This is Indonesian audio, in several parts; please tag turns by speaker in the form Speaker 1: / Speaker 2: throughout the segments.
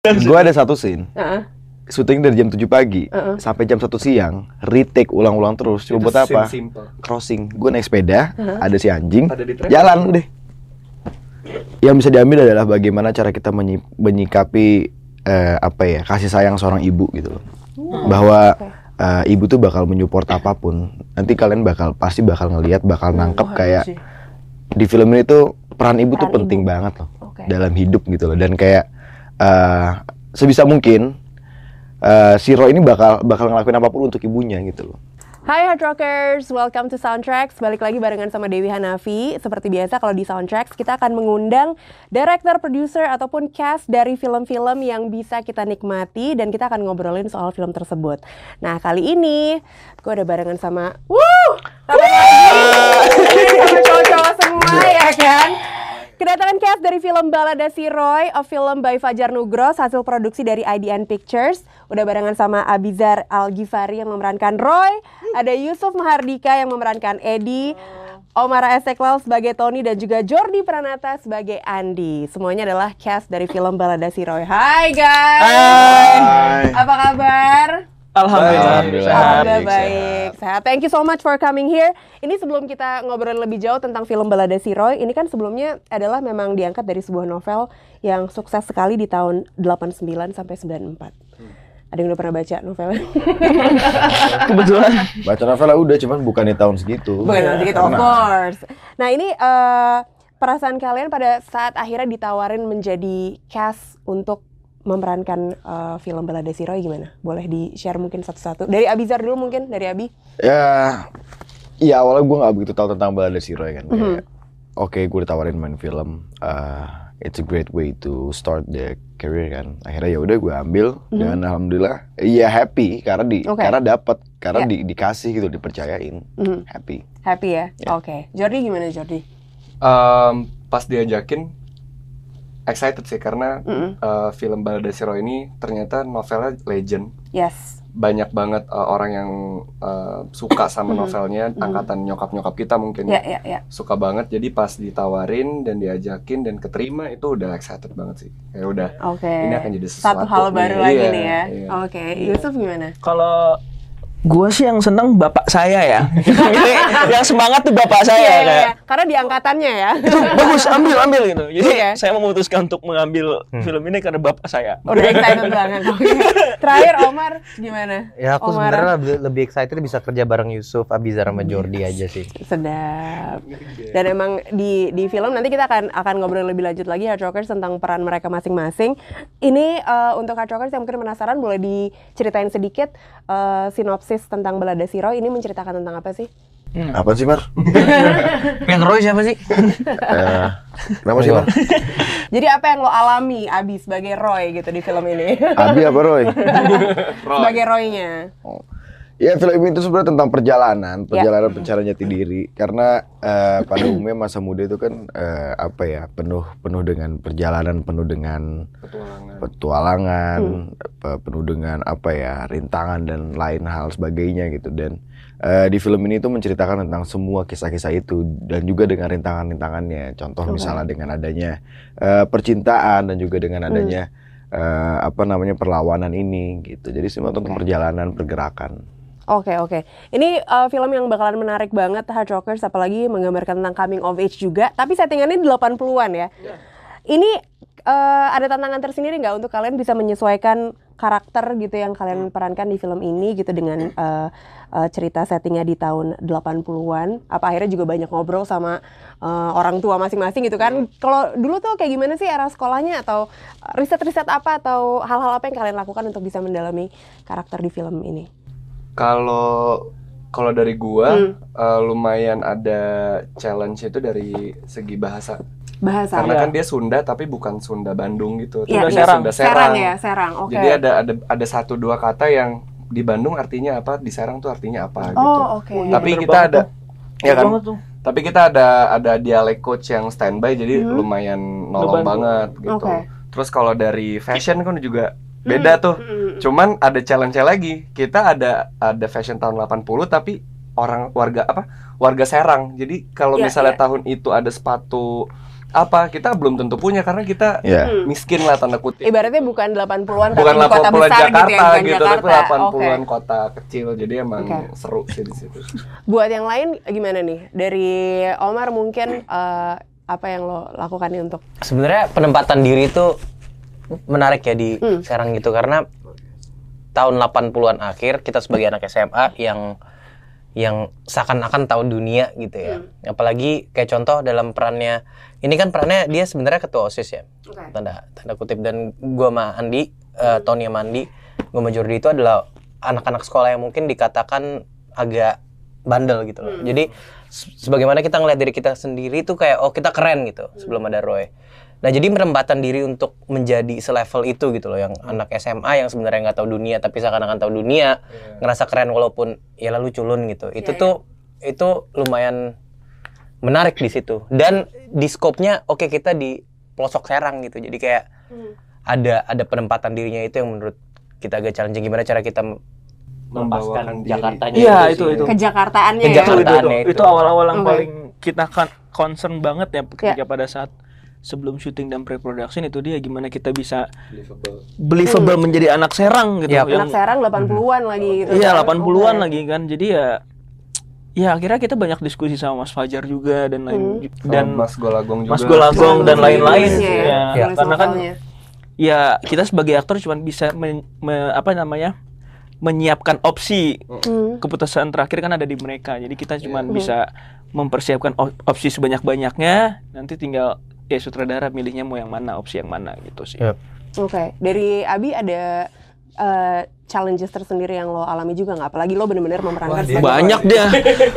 Speaker 1: gue ada satu scene
Speaker 2: Heeh.
Speaker 1: syuting dari jam 7 pagi
Speaker 2: Heeh.
Speaker 1: sampai jam 1 siang retake ulang-ulang terus
Speaker 3: Itu
Speaker 1: cuma buat apa
Speaker 3: scene simple.
Speaker 1: crossing gue naik sepeda ada si anjing
Speaker 3: Ada di trek.
Speaker 1: jalan deh yang bisa diambil adalah bagaimana cara kita menyi- menyikapi eh, apa ya kasih sayang seorang ibu gitu loh bahwa eh, ibu tuh bakal menyupport apapun nanti kalian bakal pasti bakal ngelihat bakal nangkep kayak di film ini tuh peran ibu tuh
Speaker 2: Peran
Speaker 1: penting
Speaker 2: ibu.
Speaker 1: banget loh
Speaker 2: Oke.
Speaker 1: dalam hidup gitu loh dan kayak eh, sebisa mungkin eh, si Roy ini bakal bakal ngelakuin apapun untuk ibunya gitu loh
Speaker 2: Hai Hard Rockers, welcome to Soundtracks. Balik lagi barengan sama Dewi Hanafi. Seperti biasa kalau di Soundtracks kita akan mengundang director, producer ataupun cast dari film-film yang bisa kita nikmati dan kita akan ngobrolin soal film tersebut. Nah kali ini gue udah barengan sama, wuh, sama sama cowok-cowok semua ya kan. Kedatangan cast dari film Balada Si Roy, a film by Fajar Nugros, hasil produksi dari IDN Pictures. Udah barengan sama Abizar Al-Ghifari yang memerankan Roy, ada Yusuf Mahardika yang memerankan Edi, Omar Eseklal sebagai Tony, dan juga Jordi Pranata sebagai Andi. Semuanya adalah cast dari film Balada Si Roy. Hai guys! Apa kabar?
Speaker 3: Alhamdulillah.
Speaker 2: Alhamdulillah baik. Sehat. Thank you so much for coming here. Ini sebelum kita ngobrol lebih jauh tentang film Balada Si Roy, ini kan sebelumnya adalah memang diangkat dari sebuah novel yang sukses sekali di tahun 89 sampai 94. Ada yang udah pernah baca novelnya?
Speaker 4: kebetulan
Speaker 1: baca novel udah cuman bukan di tahun segitu
Speaker 2: Bukan nanti kita of
Speaker 1: Karena-
Speaker 2: course. Nah ini eh, perasaan kalian pada saat akhirnya ditawarin menjadi cast untuk memerankan eh, film Balada Si Roy gimana? Boleh di share mungkin satu-satu. Dari Abizar dulu mungkin dari Abi.
Speaker 1: ya ya awalnya gue nggak begitu tahu tentang balada si Roy
Speaker 2: Mhm.
Speaker 1: kan Kayak, oke gue ditawarin main film uh, it's a great way to start the career kan akhirnya ya udah gue ambil dan alhamdulillah ya happy karena di
Speaker 2: Mhm. Oke.
Speaker 1: karena dapat karena
Speaker 2: Ya.
Speaker 1: di- dikasih gitu dipercayain happy
Speaker 2: Happy ya? Oke. Jordi gimana Jordi?
Speaker 3: Em, pas diajakin excited sih karena eh, film Balada Siro ini ternyata novelnya legend.
Speaker 2: Yes.
Speaker 3: Banyak banget eh, orang yang eh, suka sama novelnya, angkatan nyokap-nyokap kita mungkin
Speaker 2: Mm-hmm. Ya, ya, ya.
Speaker 3: suka banget. Jadi pas ditawarin dan diajakin dan keterima itu udah excited banget sih. Kayak udah.
Speaker 2: Oke.
Speaker 3: Ini akan jadi
Speaker 2: Satu
Speaker 3: sesuatu
Speaker 2: hal
Speaker 3: nih.
Speaker 2: baru
Speaker 3: Iya,
Speaker 2: lagi nih ya.
Speaker 3: iya.
Speaker 2: Oke. Yusuf gimana?
Speaker 4: kalau gue sih yang seneng bapak saya ya Jadi, yang semangat tuh bapak saya
Speaker 2: Iya, iya,
Speaker 4: kayak
Speaker 2: iya. Karena di angkatannya ya.
Speaker 4: itu bagus ambil ambil gitu jadi
Speaker 2: Iya.
Speaker 4: saya memutuskan untuk mengambil film ini karena bapak saya
Speaker 2: Udah excited banget. Oke. Terakhir Omar gimana?
Speaker 5: Ya aku
Speaker 2: Omar.
Speaker 5: sebenarnya lebih, lebih excited bisa kerja bareng Yusuf, Abizar sama Jordi aja sih.
Speaker 2: sedap dan emang di di film nanti kita akan akan ngobrol lebih lanjut lagi Hard Rockers tentang peran mereka masing-masing ini eh, untuk Hard Rockers yang mungkin penasaran boleh diceritain sedikit eh, sinopsis tentang Balada Siro ini menceritakan tentang apa sih
Speaker 1: apa sih Mar?
Speaker 5: Yang Hmm. Roy siapa sih?
Speaker 1: Eh, kenapa sih Mar?
Speaker 2: Jadi apa yang lo alami Abi sebagai Roy gitu di film ini?
Speaker 1: Abi apa Roy?
Speaker 2: sebagai Roy-nya.
Speaker 1: Ya film ini itu sebenarnya tentang perjalanan, perjalanan pencarian jati diri. Karena eh, pada umumnya masa muda itu kan eh, apa ya penuh penuh dengan perjalanan, penuh dengan
Speaker 3: Petualangan.
Speaker 1: petualangan, pe- penuh dengan apa ya rintangan dan lain hal sebagainya gitu. Dan eh, di film ini itu menceritakan tentang semua kisah-kisah itu dan juga dengan rintangan-rintangannya. Contoh misalnya dengan adanya eh, percintaan dan juga dengan adanya eh, apa namanya perlawanan ini gitu. Jadi semua tentang perjalanan, pergerakan.
Speaker 2: Oke oke, ini uh, film yang bakalan menarik banget Hard Rockers, apalagi menggambarkan tentang coming of age juga. Tapi settingannya di 80-an ya. Ini uh, ada tantangan tersendiri nggak untuk kalian bisa menyesuaikan karakter gitu yang kalian perankan di film ini gitu dengan uh, uh, cerita settingnya di tahun 80-an. Apa akhirnya juga banyak ngobrol sama uh, orang tua masing-masing gitu kan. Kalau dulu tuh kayak gimana sih era sekolahnya atau riset-riset apa atau hal-hal apa yang kalian lakukan untuk bisa mendalami karakter di film ini?
Speaker 3: Kalau kalau dari gua
Speaker 2: Hmm.
Speaker 3: eh, lumayan ada challenge itu dari segi bahasa.
Speaker 2: bahasa
Speaker 3: Karena kan dia Sunda tapi bukan Sunda Bandung gitu.
Speaker 2: Iya,
Speaker 3: Sunda
Speaker 2: iya.
Speaker 3: Serang. Sunda Serang.
Speaker 2: ya serang oke
Speaker 3: Jadi ada ada ada satu dua kata yang di Bandung artinya apa, di Serang tuh artinya apa gitu.
Speaker 2: oh oke
Speaker 4: iya.
Speaker 3: Tapi
Speaker 4: bener
Speaker 3: kita
Speaker 4: banget
Speaker 3: ada ya kan.
Speaker 4: Banget tuh.
Speaker 3: Tapi kita ada ada dialek coach yang standby jadi lumayan nolong
Speaker 4: Ngebantu.
Speaker 3: banget gitu.
Speaker 2: Hmm. Oke.
Speaker 3: Terus kalau dari fashion kan juga beda tuh.
Speaker 2: Mm.
Speaker 3: Cuman ada challenge lagi. Kita ada ada fashion tahun 80 tapi orang warga apa? warga Serang. Jadi kalau
Speaker 2: Iya, iya.
Speaker 3: misalnya tahun itu ada sepatu apa kita belum tentu punya karena kita
Speaker 1: Iya.
Speaker 3: miskin lah tanda kutip.
Speaker 2: Ibaratnya bukan 80-an tapi
Speaker 3: bukan
Speaker 2: di Hmm. kota
Speaker 3: 80-an
Speaker 2: besar
Speaker 3: Jakarta
Speaker 2: gitu ya, bukan
Speaker 3: gitu, tapi
Speaker 2: Jakarta.
Speaker 3: 80-an
Speaker 2: Oke.
Speaker 3: kota kecil. Jadi emang
Speaker 2: Oke.
Speaker 3: seru sih di situ.
Speaker 2: Buat yang lain gimana nih? Dari Omar mungkin eh, apa yang lo lakukan nih untuk
Speaker 5: sebenarnya penempatan diri itu menarik ya di sekarang gitu karena tahun 80-an akhir kita sebagai anak SMA yang yang seakan-akan tahu dunia gitu ya. Apalagi kayak contoh dalam perannya ini kan perannya dia sebenarnya ketua OSIS ya. Tanda tanda kutip dan gua sama Andi, eh, Tony sama Andi, gua sama Jordi itu adalah anak-anak sekolah yang mungkin dikatakan agak bandel gitu loh. Jadi se- sebagaimana kita ngeliat diri kita sendiri tuh kayak oh kita keren gitu sebelum ada Roy. Nah jadi penempatan diri untuk menjadi selevel itu gitu loh yang anak SMA yang sebenarnya nggak tahu dunia tapi seakan-akan tahu dunia ngerasa keren walaupun ya lalu culun gitu. Itu tuh itu lumayan menarik di situ dan di skopnya oke kita di pelosok Serang gitu jadi kayak ada ada penempatan dirinya itu yang menurut kita agak challenging gimana cara kita
Speaker 3: Membawakan
Speaker 5: melepaskan
Speaker 3: diri.
Speaker 5: Jakartanya
Speaker 4: Iya,
Speaker 5: itu
Speaker 4: itu,
Speaker 5: sih.
Speaker 4: itu.
Speaker 2: kejakartaannya
Speaker 5: ya?
Speaker 4: Iya, itu, itu,
Speaker 5: Kejakartaannya
Speaker 4: itu.
Speaker 5: itu.
Speaker 4: Itu awal-awal yang
Speaker 2: Oke.
Speaker 4: paling kita kan concern banget ya ketika
Speaker 2: Iya.
Speaker 4: pada saat sebelum syuting dan pre-production itu dia gimana kita bisa
Speaker 3: Believable.
Speaker 4: believable menjadi anak Serang gitu
Speaker 5: Iya,
Speaker 4: yang-
Speaker 2: Hmm. Anak Serang 80-an lagi gitu.
Speaker 4: Iya,
Speaker 2: kan?
Speaker 4: 80-an
Speaker 2: Oke.
Speaker 4: lagi kan. Jadi ya ya akhirnya kita banyak diskusi sama Mas Fajar juga dan
Speaker 2: Hmm.
Speaker 4: lain dan
Speaker 3: Dan Mas Golagong juga.
Speaker 4: Mas Golagong dan
Speaker 2: Sama
Speaker 4: lain-lain
Speaker 2: nulisnya
Speaker 3: Iya,
Speaker 4: ya.
Speaker 2: ya, nulis
Speaker 4: Karena kan
Speaker 2: novelnya.
Speaker 4: ya kita sebagai aktor cuma bisa men- me- apa namanya? menyiapkan opsi
Speaker 2: Hmm.
Speaker 4: keputusan terakhir kan ada di mereka. Jadi kita cuma bisa mempersiapkan op- opsi sebanyak-banyaknya. Nanti tinggal ya sutradara milihnya mau yang mana, opsi yang mana gitu sih.
Speaker 5: Yap.
Speaker 2: Oke, dari Abi ada eh, challenges tersendiri yang lo alami juga nggak? Apalagi lo bener-bener memerankan sebagai-
Speaker 4: Banyak dia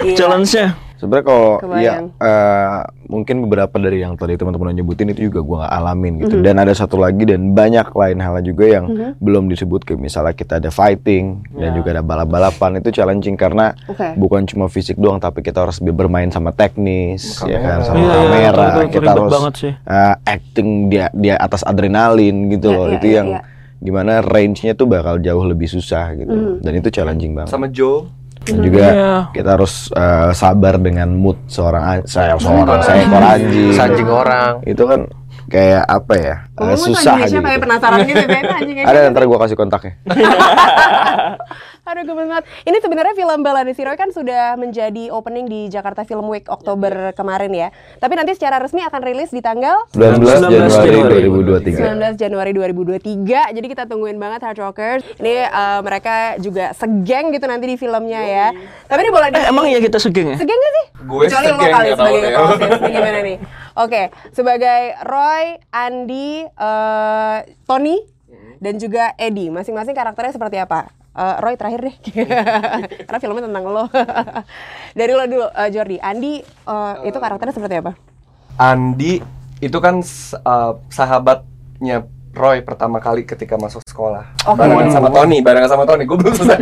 Speaker 2: Iya.
Speaker 4: challenge-nya.
Speaker 1: Sebenarnya kalau ya
Speaker 2: Kebayang.
Speaker 1: eh, mungkin beberapa dari yang tadi teman-teman nyebutin itu juga gua nggak alamin gitu. Dan ada satu lagi dan banyak lain hal juga yang belum disebut kayak misalnya kita ada fighting dan juga ada balap-balapan itu challenging karena
Speaker 2: Oke.
Speaker 1: bukan cuma fisik doang tapi kita harus be- bermain sama teknis
Speaker 3: Sama
Speaker 1: ya kan
Speaker 3: kamera.
Speaker 1: sama
Speaker 4: Iya, iya,
Speaker 1: kamera.
Speaker 4: betul, betul,
Speaker 1: kita
Speaker 4: ribet
Speaker 1: harus
Speaker 4: banget sih.
Speaker 1: eh, acting dia dia atas adrenalin gitu
Speaker 2: Iya,
Speaker 1: loh.
Speaker 2: iya,
Speaker 1: itu
Speaker 2: iya,
Speaker 1: yang
Speaker 2: iya.
Speaker 1: gimana range-nya tuh bakal jauh lebih susah gitu. Dan itu challenging banget.
Speaker 3: Sama Joe.
Speaker 1: Dan juga
Speaker 4: Iya.
Speaker 1: kita harus eh, sabar dengan mood seorang an- saya seorang seekor anjing.
Speaker 5: Sanjing orang.
Speaker 1: Itu kan kayak apa ya? eh,
Speaker 2: Ngomong tuh
Speaker 1: susah
Speaker 2: anjingnya
Speaker 1: gitu.
Speaker 2: siapa ya penasaran gitu kan anjingnya
Speaker 1: Ada
Speaker 2: siapa?
Speaker 1: ntar gua kasih kontaknya.
Speaker 2: Aduh gemes banget. Ini sebenarnya film Balade Siroy kan sudah menjadi opening di Jakarta Film Week Oktober kemarin ya. Tapi nanti secara resmi akan rilis di tanggal
Speaker 1: Iya. 19 Januari Iya. 2023.
Speaker 2: 19 Januari 2023. Jadi kita tungguin banget Hard Rockers. Ini eh, mereka juga segeng gitu nanti di filmnya ya. Tapi ini boleh di
Speaker 4: Eh, emang iya kita segeng ya?
Speaker 2: segeng gak sih?
Speaker 3: Gue
Speaker 2: Kecuali lo
Speaker 3: segeng, ya.
Speaker 2: kali
Speaker 3: nggak tahu
Speaker 2: sebagai
Speaker 3: deh.
Speaker 2: ketua OSIS. Ini gimana nih? Oke, sebagai Roy, Andi, eh, Tony,
Speaker 3: Hmm.
Speaker 2: dan juga Edi. Masing-masing karakternya seperti apa? Eh, Roy terakhir deh, karena filmnya tentang lo. Dari lo dulu, eh, Jordi. Andi, eh, itu karakternya seperti apa?
Speaker 3: Andi itu kan s- uh, sahabatnya Roy pertama kali ketika masuk sekolah.
Speaker 2: Oke.
Speaker 3: Barengan sama Tony, barengan sama Tony. Gue belum selesai.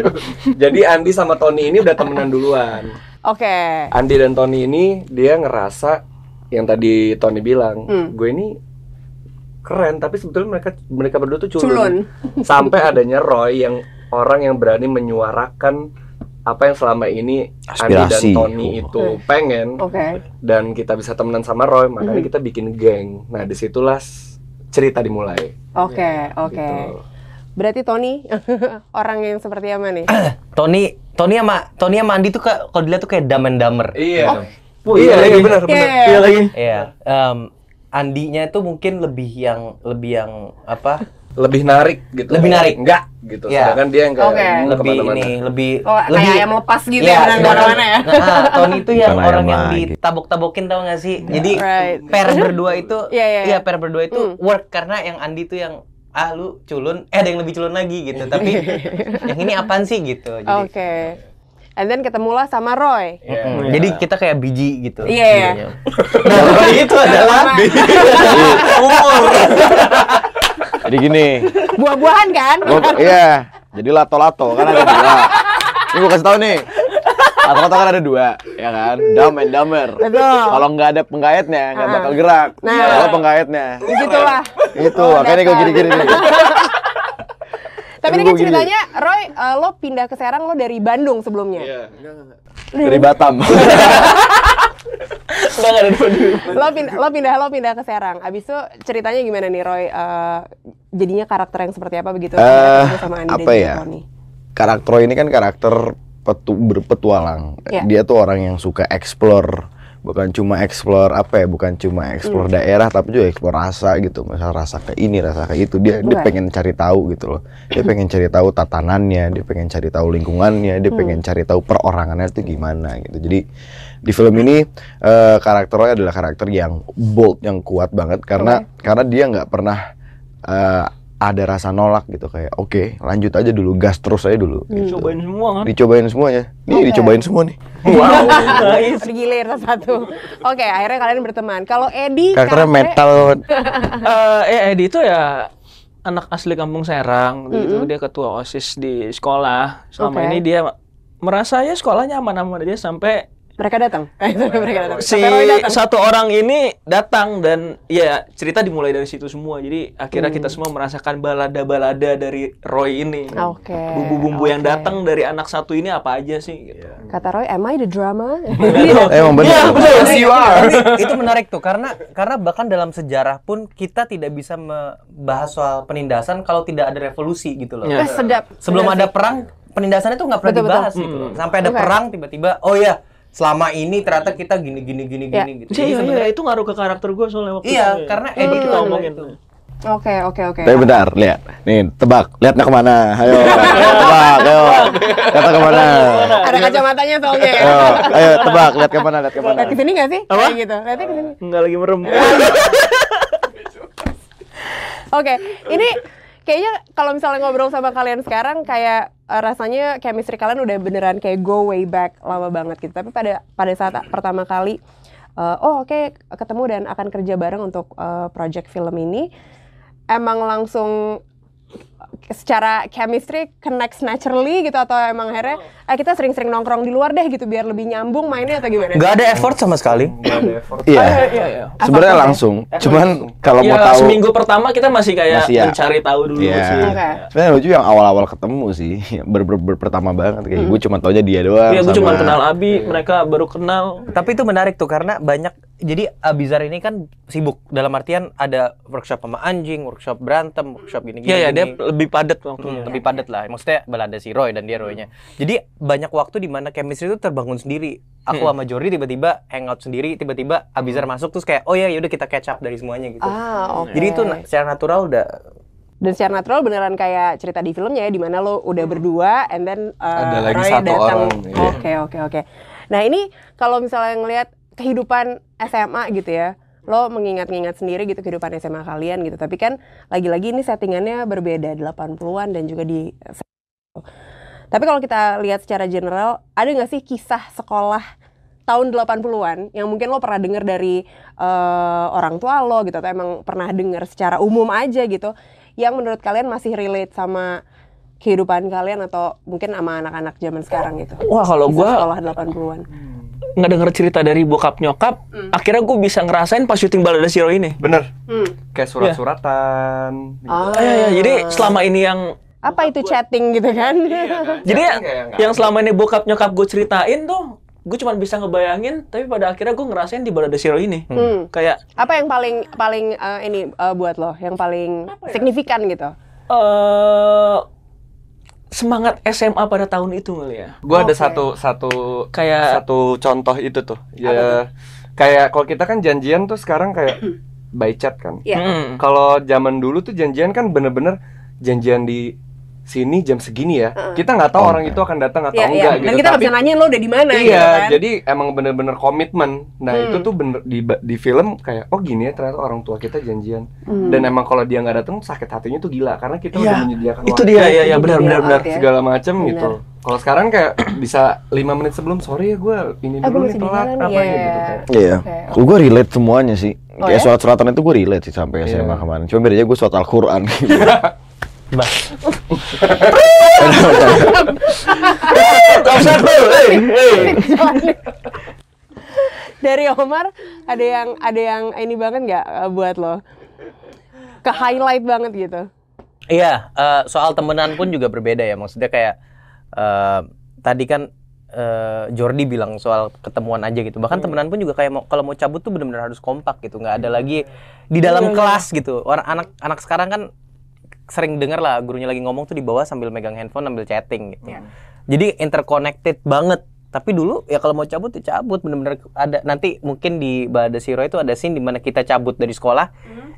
Speaker 3: Jadi Andi sama Tony ini udah temenan duluan.
Speaker 2: Oke.
Speaker 3: Andi dan Tony ini dia ngerasa yang tadi Tony bilang,
Speaker 2: Hmm.
Speaker 3: gue ini keren tapi sebetulnya mereka mereka berdua tuh culun. Sampai adanya Roy yang orang yang berani menyuarakan apa yang selama ini Andi
Speaker 1: Aspirasi.
Speaker 3: dan Tony itu pengen
Speaker 2: Hmm. Oke. Hmm.
Speaker 3: dan kita bisa temenan sama Roy makanya kita bikin geng nah disitulah s- cerita dimulai
Speaker 2: Oke, oke.
Speaker 3: gitu.
Speaker 2: Berarti Tony orang yang seperti apa nih?
Speaker 5: Eh, Tony Tony sama Tony sama Andi tuh kayak- kalau dilihat tuh kayak damen damer
Speaker 3: iya
Speaker 4: Oh,
Speaker 3: iya, iya,
Speaker 4: iya, iya.
Speaker 3: benar benar
Speaker 2: Iya.
Speaker 4: Iya lagi.
Speaker 5: Iya. Em, Andinya itu mungkin lebih yang lebih yang apa?
Speaker 3: lebih narik gitu
Speaker 5: Lebih narik.
Speaker 3: enggak gitu
Speaker 5: Iya.
Speaker 3: sedangkan dia yang kayak
Speaker 2: Oke.
Speaker 3: hmm,
Speaker 5: lebih
Speaker 3: kemana-mana.
Speaker 5: ini lebih
Speaker 2: Oh, kayak
Speaker 5: lebih
Speaker 2: ayam lepas gitu
Speaker 5: Iya,
Speaker 2: ya, beneran
Speaker 5: sedangkan-
Speaker 2: kemana-mana ya?
Speaker 5: Nah, Tony itu yang
Speaker 1: Bukan
Speaker 5: orang
Speaker 1: ayam
Speaker 5: yang
Speaker 1: lagi.
Speaker 5: ditabok-tabokin tau gak sih? Jadi
Speaker 2: Right.
Speaker 5: pair berdua itu
Speaker 2: Iya, iya, iya.
Speaker 5: pair berdua itu work karena yang Andi tuh yang ah lu culun, eh ada yang lebih culun lagi gitu. Tapi yang ini apaan sih gitu. Jadi
Speaker 2: Oke. And then ketemulah sama Roy.
Speaker 5: Mm-mm. Jadi kita kayak biji gitu.
Speaker 2: Iya, iya.
Speaker 5: jadinya. Nah, Roy
Speaker 1: gitu
Speaker 5: itu adalah
Speaker 1: Jadi gini,
Speaker 2: Buah-buahan kan?
Speaker 1: gua iya, jadi lato-lato kan ada dua. Ini gua kasih tahu nih. Lato-lato kan ada dua, ya kan? Dumb and dumber.
Speaker 2: Betul.
Speaker 1: Kalau nggak ada penggayatnya nggak bakal gerak.
Speaker 2: Nah.
Speaker 1: Kalau penggayatnya,
Speaker 2: Begitulah.
Speaker 1: itu
Speaker 2: Oh,
Speaker 1: makanya gua
Speaker 2: dasar.
Speaker 1: gini-gini nih. Tapi
Speaker 2: Tapi ini kan
Speaker 1: gua gini.
Speaker 2: ceritanya Roy eh, lo pindah ke
Speaker 5: Iya.
Speaker 2: Serang lo dari Bandung sebelumnya.
Speaker 1: Dari Batam.
Speaker 4: Udah nggak ada di Baduy.
Speaker 2: lo pindah lo pindah lo pindah ke Serang abis itu ceritanya gimana nih Roy Eh, jadinya karakter yang seperti apa begitu
Speaker 1: Eh,
Speaker 2: Ketemu sama Andi dan
Speaker 1: apa
Speaker 2: juga
Speaker 1: ya?
Speaker 2: Tony.
Speaker 1: karakter Roy ini kan karakter petu, berpetualang.
Speaker 2: Iya.
Speaker 1: Dia tuh orang yang suka explore, bukan cuma explore apa ya, bukan cuma explore daerah tapi juga explore rasa gitu. Misal rasa ke ini, rasa ke itu. Dia dia
Speaker 2: Benar.
Speaker 1: pengen cari tahu gitu loh. Dia pengen cari tahu tatanannya, dia pengen cari tahu lingkungannya, dia pengen cari tahu perorangannya itu gimana gitu. Jadi di film ini eh, karakter Roy adalah karakter yang bold, yang kuat banget karena karena dia nggak pernah eh, ada rasa nolak gitu kayak oke lanjut aja dulu gas terus aja dulu gitu.
Speaker 4: Cobain semua kan.
Speaker 1: dicobain semuanya nih
Speaker 2: Oke.
Speaker 1: dicobain semua nih
Speaker 4: Wow.
Speaker 2: Bergilir satu. Oke, akhirnya kalian berteman. Kalau Edi
Speaker 1: karakternya metal
Speaker 4: Eh, eh Edi itu ya anak asli kampung Serang gitu. Dia ketua OSIS di sekolah. Selama
Speaker 2: Oke.
Speaker 4: ini dia merasa ya sekolahnya aman-aman aja sampai
Speaker 2: mereka datang. mereka datang.
Speaker 4: si
Speaker 5: Iya,
Speaker 2: Sampai Roy datang.
Speaker 4: satu orang ini datang dan ya cerita dimulai dari situ semua. Jadi akhirnya kita semua merasakan balada-balada dari Roy ini.
Speaker 2: Oke,
Speaker 4: Bumbu-bumbu yang
Speaker 2: oke.
Speaker 4: datang dari anak satu ini apa aja sih? Gitu.
Speaker 5: Iya.
Speaker 2: Kata Roy, am I the drama?
Speaker 1: emang bener
Speaker 4: Iya, bener. Yes, you are.
Speaker 5: Tapi itu menarik tuh karena karena bahkan dalam sejarah pun kita tidak bisa membahas soal penindasan kalau tidak ada revolusi gitu loh.
Speaker 2: Eh,
Speaker 4: Iya.
Speaker 2: sedap.
Speaker 5: Sebelum
Speaker 2: Bener
Speaker 5: ada
Speaker 2: sih.
Speaker 5: perang, penindasannya tuh nggak pernah
Speaker 2: Betul,
Speaker 5: dibahas
Speaker 4: betul.
Speaker 5: gitu loh. Sampai ada
Speaker 2: Oke.
Speaker 5: perang tiba-tiba, oh ya selama ini ternyata kita gini gini gini
Speaker 2: Ya.
Speaker 5: gini gitu.
Speaker 4: Iya,
Speaker 5: Jadi
Speaker 4: iya,
Speaker 5: sebenarnya-
Speaker 4: itu ngaruh ke karakter gue soalnya waktu
Speaker 5: Iya,
Speaker 4: itu.
Speaker 5: karena
Speaker 4: Jadi
Speaker 5: Edi
Speaker 4: kita
Speaker 5: tuh
Speaker 4: ngomongin.
Speaker 5: itu.
Speaker 2: Oke, oke, oke.
Speaker 1: tapi bentar lihat nih tebak lihatnya kemana ayo tebak ayo kata kemana
Speaker 2: Ada
Speaker 5: Iya.
Speaker 2: kacamatanya soalnya ya.
Speaker 1: ayo,
Speaker 5: Oh.
Speaker 1: ayo tebak lihat kemana lihat kemana
Speaker 2: Lihat ke sini nggak sih? Kayak gitu. Lihatnya ke sini.
Speaker 4: Enggak lagi merem.
Speaker 2: Oke, ini kayaknya kalau misalnya ngobrol sama kalian sekarang kayak eh, rasanya chemistry kalian udah beneran kayak go way back lama banget gitu. Tapi pada pada saat pertama kali eh, oh oke ketemu dan akan kerja bareng untuk eh, project film ini emang langsung eh, secara chemistry connects naturally gitu atau emang akhirnya eh,
Speaker 5: Oh.
Speaker 2: kita sering-sering nongkrong di luar deh gitu biar lebih nyambung mainnya atau gimana?
Speaker 5: nggak ada effort sama sekali.
Speaker 3: Nggak ada effort.
Speaker 1: iya
Speaker 4: Iya, iya.
Speaker 1: sebenarnya
Speaker 2: Apa-apa
Speaker 1: langsung cuman kalau
Speaker 4: ya,
Speaker 1: mau tahu
Speaker 4: seminggu pertama kita masih kayak
Speaker 1: Masih ya.
Speaker 4: mencari tahu dulu
Speaker 1: Iya.
Speaker 4: sih.
Speaker 2: Oke.
Speaker 1: Sebenarnya lucu yang awal-awal ketemu sih, ber, ber, ber- pertama banget kayak gue cuma taunya dia doang.
Speaker 4: Hmm. Iya, gue
Speaker 1: sama-
Speaker 4: cuma kenal Abi, mereka baru kenal.
Speaker 5: Tapi itu menarik tuh karena banyak jadi Abizar ini kan sibuk dalam artian ada workshop sama anjing, workshop berantem, workshop gini-gini.
Speaker 4: Iya, ya, dia
Speaker 5: gini.
Speaker 4: lebih padat waktunya.
Speaker 5: Hmm, lebih padat lah. Maksudnya balada si Roy dan dia Roy-nya. Jadi banyak waktu di mana chemistry itu terbangun sendiri. Aku sama Jordi tiba-tiba hangout sendiri, tiba-tiba Abizar masuk terus kayak oh ya yaudah kita catch up dari semuanya gitu.
Speaker 2: Ah, oke.
Speaker 5: Jadi itu na- secara natural udah
Speaker 2: dan secara natural beneran kayak cerita di filmnya ya di mana lo udah berdua and then uh,
Speaker 3: Hmm. Ada lagi
Speaker 2: Roy
Speaker 3: satu
Speaker 2: datang.
Speaker 3: orang, iya.
Speaker 2: Oke oke oke. Nah ini kalau misalnya ngelihat kehidupan SMA gitu ya lo mengingat-ingat sendiri gitu kehidupan SMA kalian gitu tapi kan lagi-lagi ini settingannya berbeda 80-an dan juga di tapi kalau kita lihat secara general, ada nggak sih kisah sekolah tahun 80-an yang mungkin lo pernah dengar dari eh, orang tua lo gitu atau emang pernah dengar secara umum aja gitu yang menurut kalian masih relate sama kehidupan kalian atau mungkin sama anak-anak zaman sekarang gitu.
Speaker 4: Wah, kalau
Speaker 2: Kisah
Speaker 4: gua-
Speaker 2: sekolah 80-an.
Speaker 4: Nggak denger cerita dari bokap nyokap, akhirnya gue bisa ngerasain pas syuting balada Siro ini.
Speaker 3: Bener.
Speaker 2: Hmm.
Speaker 3: Kayak surat-suratan. gitu.
Speaker 2: Ah,
Speaker 4: Iya, iya, jadi selama ini yang
Speaker 2: apa itu chatting gitu kan?
Speaker 4: jadi
Speaker 3: Chatting
Speaker 4: yang,
Speaker 3: kayak nggak
Speaker 4: yang selama ini bokap nyokap gue ceritain tuh, gue cuma bisa ngebayangin, tapi pada akhirnya gue ngerasain di balada Siro ini.
Speaker 2: Hmm.
Speaker 4: Kayak
Speaker 2: apa yang paling paling eh, ini eh, buat lo yang paling signifikan gitu?
Speaker 4: eh semangat SMA pada tahun itu kali ya.
Speaker 3: Gua ada
Speaker 2: Oke.
Speaker 3: satu satu
Speaker 4: Kayak-
Speaker 3: satu contoh itu tuh. Ya kayak kalau kita kan janjian tuh sekarang kayak by chat kan.
Speaker 2: Iya.
Speaker 4: Hmm.
Speaker 3: Kalau zaman dulu tuh janjian kan bener-bener janjian di sini jam segini ya. Kita nggak tahu orang itu akan datang atau
Speaker 2: Iya, iya.
Speaker 3: enggak
Speaker 2: Dan
Speaker 3: gitu.
Speaker 2: kita nggak
Speaker 3: Tapi-
Speaker 2: bisa nanyain lo udah di mana
Speaker 3: Iya,
Speaker 2: gitu kan. Hmm.
Speaker 3: jadi emang bener-bener komitmen. Nah itu tuh bener di di film kayak oh gini ya ternyata orang tua kita janjian.
Speaker 2: Hmm.
Speaker 3: Dan emang kalau dia nggak datang sakit hatinya tuh gila karena kita udah menyediakan
Speaker 4: Itu
Speaker 3: waktu,
Speaker 4: dia ya, ya
Speaker 2: Iya, Itu
Speaker 4: benar
Speaker 2: dia,
Speaker 4: benar benar.
Speaker 2: oke. ya.
Speaker 3: segala macam
Speaker 2: Benar.
Speaker 3: gitu. Kalau sekarang kayak bisa lima menit sebelum sorry ya gue ini
Speaker 2: Ah, gua
Speaker 3: dulu nih
Speaker 2: masih di
Speaker 3: telat
Speaker 2: jalan, iya.
Speaker 3: apa ya gitu kayak.
Speaker 1: Iya.
Speaker 2: Oke,
Speaker 1: Gue relate semuanya sih.
Speaker 2: Oh,
Speaker 1: Kayak
Speaker 2: ya?
Speaker 1: surat-suratan itu gue relate sih sampai
Speaker 3: Iya.
Speaker 1: SMA kemarin. Cuma bedanya gue surat Al-Qur'an.
Speaker 2: Dari Omar ada yang ada yang ini banget nggak eh, buat lo? Ke highlight banget gitu.
Speaker 5: Iya, eh, soal temenan pun juga berbeda ya. Maksudnya kayak eh, tadi kan eh, Jordi bilang soal ketemuan aja gitu. Bahkan temenan pun juga kayak mau kalau mau cabut tuh benar-benar harus kompak gitu. nggak ada lagi di dalam kelas gitu. Orang anak-anak sekarang kan sering dengar lah gurunya lagi ngomong tuh di bawah sambil megang handphone sambil chatting gitu.
Speaker 2: Iya.
Speaker 5: Jadi interconnected banget. Tapi dulu ya kalau mau cabut ya cabut benar-benar ada nanti mungkin di Bada Siro itu ada scene di mana kita cabut dari sekolah.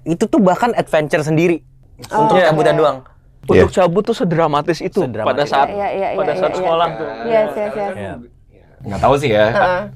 Speaker 5: Itu tuh bahkan adventure sendiri
Speaker 2: Hmm. Oh, oke.
Speaker 5: untuk cabutan doang.
Speaker 4: Untuk cabut tuh sedramatis itu pada
Speaker 5: Sedramatis.
Speaker 4: saat
Speaker 2: Iya, iya, iya,
Speaker 4: pada
Speaker 2: iya,
Speaker 4: saat
Speaker 2: iya.
Speaker 4: sekolah tuh.
Speaker 2: Yes, yes, yes.
Speaker 3: nggak tahu sih ya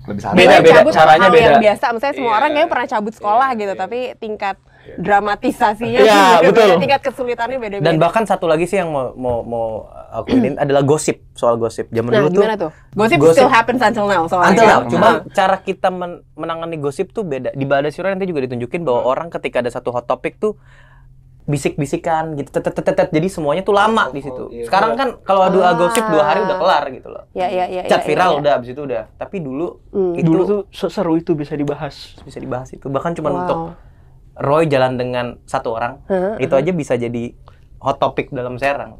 Speaker 3: lebih santai
Speaker 4: Beda,
Speaker 2: Beda,
Speaker 4: beda.
Speaker 2: cabut hal
Speaker 4: Caranya
Speaker 2: yang
Speaker 4: beda.
Speaker 2: biasa. Misalnya semua orang kayaknya pernah cabut sekolah gitu, tapi tingkat dramatisasinya
Speaker 5: Iya,
Speaker 2: beda-beda,
Speaker 5: betul.
Speaker 2: tingkat kesulitannya beda-beda.
Speaker 5: Dan bahkan satu lagi sih yang mau mau mau aku ini adalah gosip soal gosip. Zaman
Speaker 2: nah,
Speaker 5: dulu
Speaker 2: gimana tuh? Gosip,
Speaker 5: gosip-
Speaker 2: still happens until now soalnya.
Speaker 5: Until
Speaker 2: kan?
Speaker 5: now, cuma Iya, cara kita men- menangani gosip tuh beda. Di Balada Siro nanti juga ditunjukin bahwa orang ketika ada satu hot topic tuh bisik-bisikan gitu, tetetetetet. Jadi semuanya tuh lama di situ. Sekarang kan kalau adu
Speaker 2: Ah.
Speaker 5: gosip dua hari udah kelar gitu loh.
Speaker 2: Ya, ya, ya. ya,
Speaker 5: Cat viral
Speaker 2: ya, ya.
Speaker 5: udah abis itu udah. Tapi dulu
Speaker 2: Hmm.
Speaker 5: itu
Speaker 4: Dulu tuh seseru itu bisa dibahas.
Speaker 5: bisa dibahas itu. Bahkan cuma
Speaker 2: Wow.
Speaker 5: untuk Roy jalan dengan satu orang,
Speaker 2: Heeh,
Speaker 5: itu aja bisa jadi hot topic dalam serang.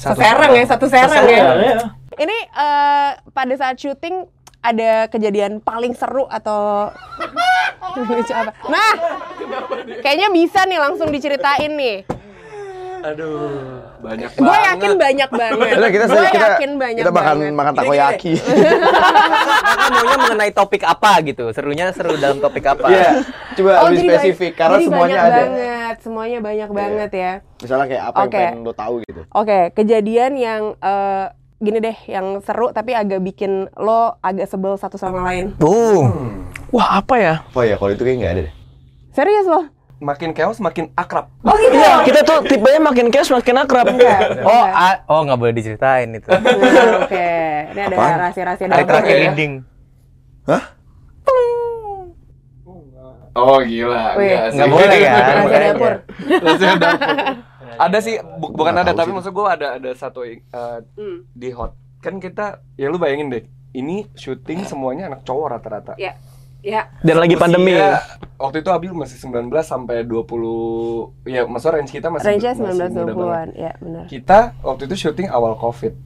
Speaker 2: Seserang ya, satu serang ya.
Speaker 4: Iya, iya.
Speaker 2: Ini eh, pada saat syuting ada kejadian paling seru atau lucu apa? Nah, kayaknya bisa nih langsung diceritain nih.
Speaker 3: aduh banyak
Speaker 2: Gue yakin banyak banget.
Speaker 1: Lah, kita
Speaker 2: Gue
Speaker 1: kita,
Speaker 2: yakin banyak
Speaker 1: kita makan
Speaker 2: banget.
Speaker 1: makan takoyaki.
Speaker 5: Kakak maunya mengenai topik apa gitu? Serunya seru dalam topik apa?
Speaker 1: Iya. Coba
Speaker 2: Oh,
Speaker 1: lebih
Speaker 2: jadi banyak-
Speaker 1: spesifik karena
Speaker 2: jadi
Speaker 1: semuanya
Speaker 2: banyak
Speaker 1: ada.
Speaker 2: banget, semuanya banyak banget ya.
Speaker 1: Misalnya kayak apa
Speaker 2: Oke.
Speaker 1: yang pengen lo tahu gitu.
Speaker 2: Oke, kejadian yang eh, gini deh, yang seru tapi agak bikin lo agak sebel satu sama lain.
Speaker 5: Boom.
Speaker 4: Wah, apa ya?
Speaker 1: Oh ya, kalau itu kayak nggak ada deh.
Speaker 2: Serius lo?
Speaker 3: makin chaos makin akrab
Speaker 2: Oh gitu.
Speaker 4: Iya, kita tuh tipenya makin cash makin akrab.
Speaker 5: Oh,
Speaker 2: ah.
Speaker 5: a- oh nggak boleh Iya. diceritain itu.
Speaker 2: Iya. Oke, ini ada
Speaker 1: Apaan?
Speaker 2: rahasia-rahasia dalam.
Speaker 5: Tarik terakhir
Speaker 3: ya?
Speaker 5: ending.
Speaker 3: oh gila
Speaker 2: Wih,
Speaker 3: nggak sih.
Speaker 5: nggak boleh ya?
Speaker 2: Rahasia dapur.
Speaker 3: Maksudnya ada ada sih bu- bukan
Speaker 1: Nggak
Speaker 3: ada
Speaker 1: tahu
Speaker 3: tapi
Speaker 1: sih.
Speaker 3: maksud gue ada ada satu eh,
Speaker 2: Hmm.
Speaker 3: di hot kan kita ya lu bayangin deh ini syuting semuanya anak cowok rata-rata
Speaker 2: Ya, ya.
Speaker 4: Dan lagi
Speaker 3: Usia-
Speaker 4: pandemi.
Speaker 3: waktu itu Abil masih 19 sampai 20 ya maksudnya range kita masih
Speaker 2: Range-nya
Speaker 3: masih muda
Speaker 2: 19
Speaker 3: banget.
Speaker 2: an ya benar.
Speaker 3: kita waktu itu syuting awal covid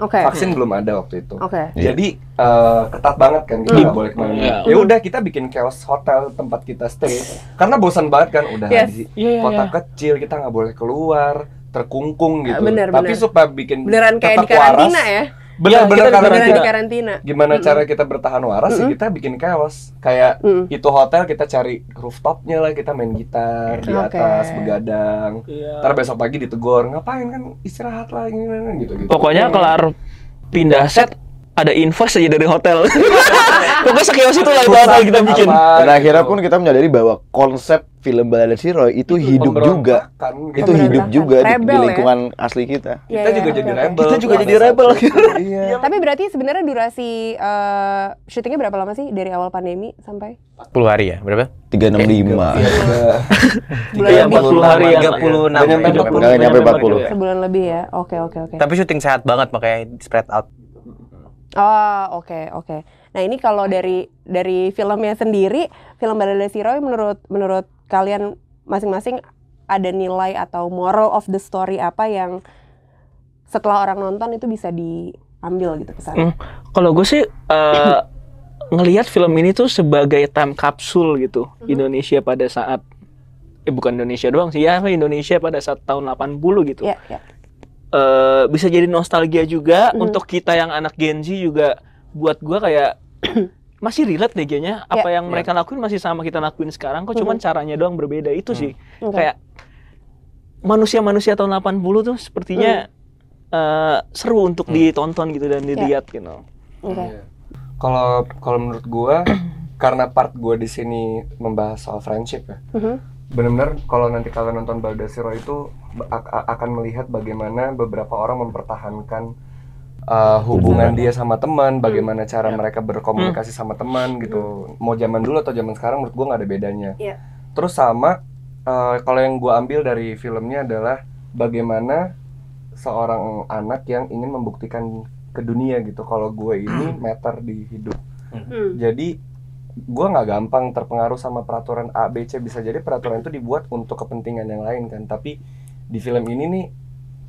Speaker 2: Oke,
Speaker 3: vaksin belum ada waktu itu
Speaker 2: oke. Hmm.
Speaker 3: jadi eh, ketat banget kan kita nggak boleh kemana
Speaker 4: Iya.
Speaker 3: ya udah kita bikin chaos hotel tempat kita stay karena bosan banget kan udah
Speaker 2: Yes.
Speaker 3: di
Speaker 4: Iya, iya,
Speaker 3: kota
Speaker 4: iya.
Speaker 3: kecil kita nggak boleh keluar terkungkung
Speaker 2: Iya,
Speaker 3: gitu
Speaker 2: Bener,
Speaker 3: tapi
Speaker 2: bener.
Speaker 3: supaya bikin
Speaker 2: Beneran kayak di
Speaker 3: tetap
Speaker 2: karantina
Speaker 3: waras,
Speaker 2: ya?
Speaker 3: bener-bener
Speaker 4: Iya, kita di
Speaker 2: Beneran
Speaker 3: karantina
Speaker 2: di karantina.
Speaker 3: gimana cara kita bertahan waras ya kita bikin chaos kayak
Speaker 2: Mm.
Speaker 3: itu hotel kita cari rooftopnya lah kita main gitar di
Speaker 2: Oke.
Speaker 3: atas begadang
Speaker 4: Iya.
Speaker 3: ntar besok pagi ditegor ngapain kan istirahat lah gini, gini, gini, gitu gitu
Speaker 4: Pokoknya kelar pindah set ada invoice aja dari hotel. Pokoknya sekios itu lah itu hotel kita bikin.
Speaker 1: Dan
Speaker 3: gitu.
Speaker 1: akhirnya pun kita menyadari bahwa konsep film Balada Siro itu hidup juga.
Speaker 3: Kan,
Speaker 1: Itu hidup
Speaker 2: Pemberontakan.
Speaker 1: juga di- di,
Speaker 2: Rebel ya.
Speaker 1: lingkungan asli kita.
Speaker 2: Iya,
Speaker 3: kita
Speaker 2: iya,
Speaker 3: juga jadi
Speaker 2: oke, oke.
Speaker 3: rebel
Speaker 4: Kita juga
Speaker 3: pada
Speaker 4: jadi
Speaker 3: saat
Speaker 4: rebel.
Speaker 3: itu. iya
Speaker 2: Tapi berarti sebenarnya durasi eh, syutingnya berapa lama sih dari awal pandemi sampai
Speaker 5: 40 hari ya,
Speaker 3: Iya
Speaker 5: berapa?
Speaker 1: 365.
Speaker 2: bulan lebih?
Speaker 4: Iya, 40 hari yang
Speaker 5: 36.
Speaker 3: Nggak nyampe
Speaker 1: Nggak nyampe 40.
Speaker 2: Sebulan lebih ya. Oke, oke, oke.
Speaker 5: Tapi syuting sehat banget makanya spread out.
Speaker 2: Oh, oke, oke. Nah, ini kalau dari dari filmnya sendiri, film Balada Siroi menurut menurut kalian masing-masing ada nilai atau moral of the story apa yang setelah orang nonton itu bisa diambil gitu pesannya?
Speaker 4: Hmm, Kalau gue sih eh, ngelihat film ini tuh sebagai time capsule gitu Indonesia pada saat eh bukan Indonesia doang sih ya Indonesia pada saat tahun 80 gitu.
Speaker 2: Ya, ya.
Speaker 4: eh bisa jadi nostalgia juga untuk kita yang anak Gen Z juga buat gua kayak masih relate deh kayaknya apa yang mereka lakuin masih sama kita lakuin sekarang kok cuman caranya doang berbeda itu
Speaker 5: Hmm.
Speaker 4: sih
Speaker 2: Oke.
Speaker 4: kayak manusia-manusia tahun 80 tuh sepertinya eh, seru untuk
Speaker 5: Hmm.
Speaker 4: ditonton gitu dan dilihat gitu.
Speaker 2: Oke.
Speaker 3: Iya. Kalau kalau menurut gua karena part gua di sini membahas soal friendship ya.
Speaker 2: Mhm.
Speaker 3: Benar-benar kalau nanti kalian nonton Baldasiro itu ba- a- a- akan melihat bagaimana beberapa orang mempertahankan uh, hubungan dia sama teman, bagaimana cara mereka berkomunikasi sama teman gitu. Mau zaman dulu atau zaman sekarang menurut gua nggak ada bedanya.
Speaker 2: Iya.
Speaker 3: Terus sama uh, kalau yang gua ambil dari filmnya adalah bagaimana seorang anak yang ingin membuktikan ke dunia gitu kalau gue ini matter di hidup
Speaker 2: Hmm.
Speaker 3: jadi gue nggak gampang terpengaruh sama peraturan A B C bisa jadi peraturan itu dibuat untuk kepentingan yang lain kan tapi di film ini nih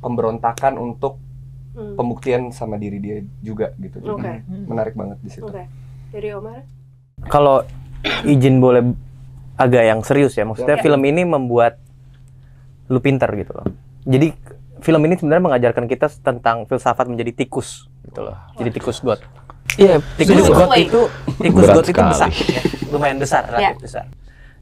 Speaker 3: pemberontakan untuk
Speaker 2: Hmm.
Speaker 3: pembuktian sama diri dia juga gitu. Jadi
Speaker 2: Oke.
Speaker 3: Menarik banget di situ.
Speaker 2: Oke. Dari Omar?
Speaker 5: Kalau izin boleh agak yang serius ya, maksudnya
Speaker 2: Ya.
Speaker 5: film ini membuat lu pinter gitu loh. Jadi film ini sebenarnya mengajarkan kita tentang filsafat menjadi tikus gitu loh. Jadi tikus got. Iya, tikus
Speaker 2: Sulit.
Speaker 5: got itu tikus
Speaker 1: Berat
Speaker 5: got itu
Speaker 1: sekali.
Speaker 5: besar, ya. lumayan besar,
Speaker 2: Ya.
Speaker 5: relatif besar.